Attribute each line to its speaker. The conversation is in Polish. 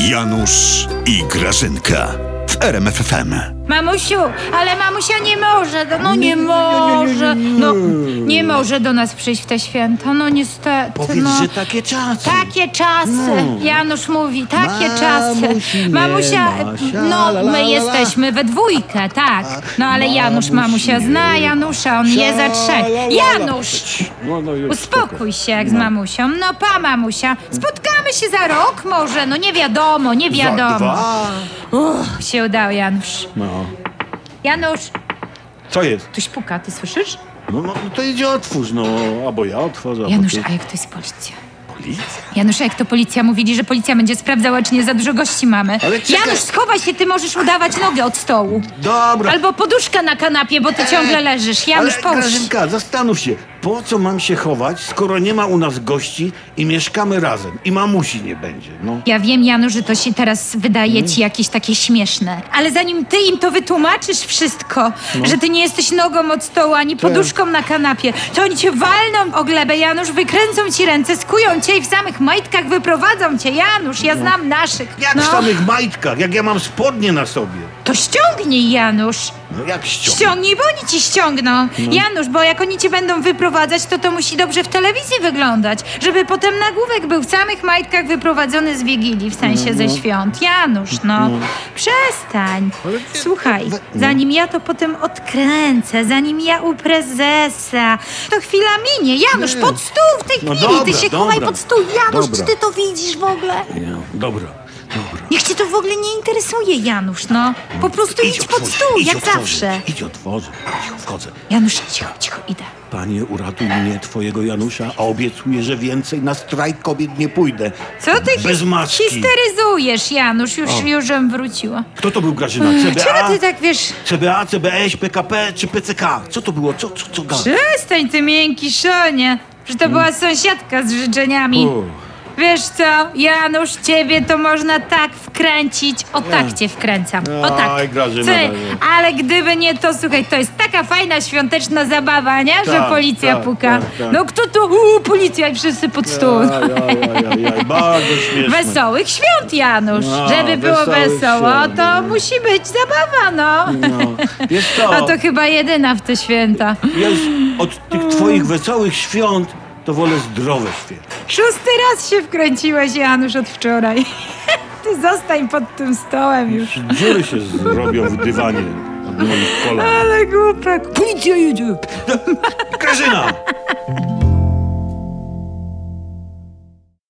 Speaker 1: Janusz i Grażynka w RMFFM.
Speaker 2: Mamusiu, ale mamusia nie może, no, no nie może. No nie może do nas przyjść w te święta, no niestety.
Speaker 3: Powiedz,
Speaker 2: no.
Speaker 3: że takie czasy. No.
Speaker 2: Takie czasy, Januś mówi, takie
Speaker 3: Mamusi
Speaker 2: czasy.
Speaker 3: nie ma, sia, la,
Speaker 2: no
Speaker 3: la, la,
Speaker 2: my
Speaker 3: la.
Speaker 2: jesteśmy we dwójkę, tak. No ale Janusz
Speaker 3: Mamusi
Speaker 2: mamusia
Speaker 3: nie
Speaker 2: zna
Speaker 3: ma,
Speaker 2: Janusza, on
Speaker 3: sia,
Speaker 2: je za trzech.
Speaker 3: la, la, la.
Speaker 2: Janusz!
Speaker 3: No, no już.
Speaker 2: Uspokój się jak z mamusią. No pa mamusia, spotkamy się za rok może, no nie wiadomo, nie wiadomo.
Speaker 3: Dwa.
Speaker 2: Uch, się udało Janusz.
Speaker 3: No.
Speaker 2: Janusz,
Speaker 3: Co jest?
Speaker 2: ktoś puka, ty słyszysz?
Speaker 3: No, no no to idzie otwórz, no. Albo ja otworzę, albo
Speaker 2: Janusz,
Speaker 3: ty.
Speaker 2: a jak to jest policja?
Speaker 3: Policja?
Speaker 2: Janusz, a jak to policja mówili, że policja będzie sprawdzała, czy nie za dużo gości mamy.
Speaker 3: Ale czekaj.
Speaker 2: Janusz, schowaj się, ty możesz udawać nogę od stołu.
Speaker 3: Dobra.
Speaker 2: Albo poduszka na kanapie, bo ty ciągle leżysz. Janusz,
Speaker 3: Ale
Speaker 2: połóż.
Speaker 3: Grażynka, zastanów się, po co mam się chować, skoro nie ma u nas gości i mieszkamy razem i mamusi nie będzie, no.
Speaker 2: Ja wiem, Janusz, że to się teraz wydaje ci jakieś takie śmieszne. Ale zanim ty im to wytłumaczysz wszystko, że ty nie jesteś nogą od stołu, ani poduszką na kanapie, to oni cię walną o glebę, Janusz, wykręcą ci ręce, skują cię i w samych majtkach wyprowadzą cię. Janusz, ja znam naszych. No,
Speaker 3: Jak w samych majtkach, jak ja mam spodnie na sobie.
Speaker 2: To ściągnij, Janusz.
Speaker 3: No jak ściągnę?
Speaker 2: Ściągnij, bo oni ci
Speaker 3: No.
Speaker 2: ściągną. Janusz, bo jak oni cię będą wyprowadzać, to to musi dobrze w telewizji wyglądać, żeby potem nagłówek był w samych majtkach wyprowadzony z Wigilii, w sensie
Speaker 3: No,
Speaker 2: ze świąt. Janusz, no. Przestań. Słuchaj, zanim ja to potem odkręcę, zanim ja u prezesa, to chwila minie. Janusz, pod stół w tej
Speaker 3: No
Speaker 2: chwili. ty
Speaker 3: dobra,
Speaker 2: się chowaj
Speaker 3: dobra.
Speaker 2: pod stół. Janusz,
Speaker 3: Dobra.
Speaker 2: czy ty to widzisz w ogóle?
Speaker 3: Ja, dobra, dobra.
Speaker 2: Niech cię to w ogóle nie interesuje, Janusz, no. Po prostu idź, pod
Speaker 3: otworzyć,
Speaker 2: stół,
Speaker 3: idź
Speaker 2: jak
Speaker 3: otworzyć,
Speaker 2: zawsze.
Speaker 3: Idź otworzę, cicho wchodzę.
Speaker 2: Janusz, cicho, cicho, idę.
Speaker 3: Panie, uratuj mnie, twojego Janusza, a obiecuję, że więcej na strajk kobiet nie pójdę.
Speaker 2: Co ty
Speaker 3: Bez
Speaker 2: hi-
Speaker 3: maski.
Speaker 2: histeryzujesz, Janusz? Już, już żem wróciła.
Speaker 3: Kto to był Grażyna?
Speaker 2: Czego
Speaker 3: CBA?
Speaker 2: ty tak wiesz?
Speaker 3: CBA, CBS, PKP czy PCK? Co to było? Co, co, co gada?
Speaker 2: Przestań ty miękki szonie, że to była sąsiadka z życzeniami.
Speaker 3: U.
Speaker 2: Wiesz co, Janusz, ciebie to można tak wkręcić. O tak cię wkręcam. O tak.
Speaker 3: Aj, Grażyna,
Speaker 2: Ty,
Speaker 3: Grażyna.
Speaker 2: ale gdyby nie to, słuchaj, to jest taka fajna świąteczna zabawa, nie? Że
Speaker 3: Tak,
Speaker 2: policja
Speaker 3: tak,
Speaker 2: puka.
Speaker 3: tak, tak.
Speaker 2: No kto tu? Uuu, policja i wszyscy pod stół.
Speaker 3: Aj, aj, aj, aj, aj, bardzo śmieszne.
Speaker 2: Wesołych świąt, Janusz!
Speaker 3: No,
Speaker 2: Żeby było
Speaker 3: wesołych
Speaker 2: wesoło,
Speaker 3: świąt,
Speaker 2: to
Speaker 3: no.
Speaker 2: musi być zabawa, no.
Speaker 3: No. Wiesz co,
Speaker 2: A to chyba jedyna w te święta.
Speaker 3: ja już od tych twoich wesołych świąt to wolę zdrowe święta.
Speaker 2: Szósty raz się wkręciłeś, Janusz, od wczoraj. Ty zostań pod tym stołem już.
Speaker 3: Dziury się zrobią w dywanie od moich kolan.
Speaker 2: Ale głupek. Policja jedzie.
Speaker 3: Grażyna!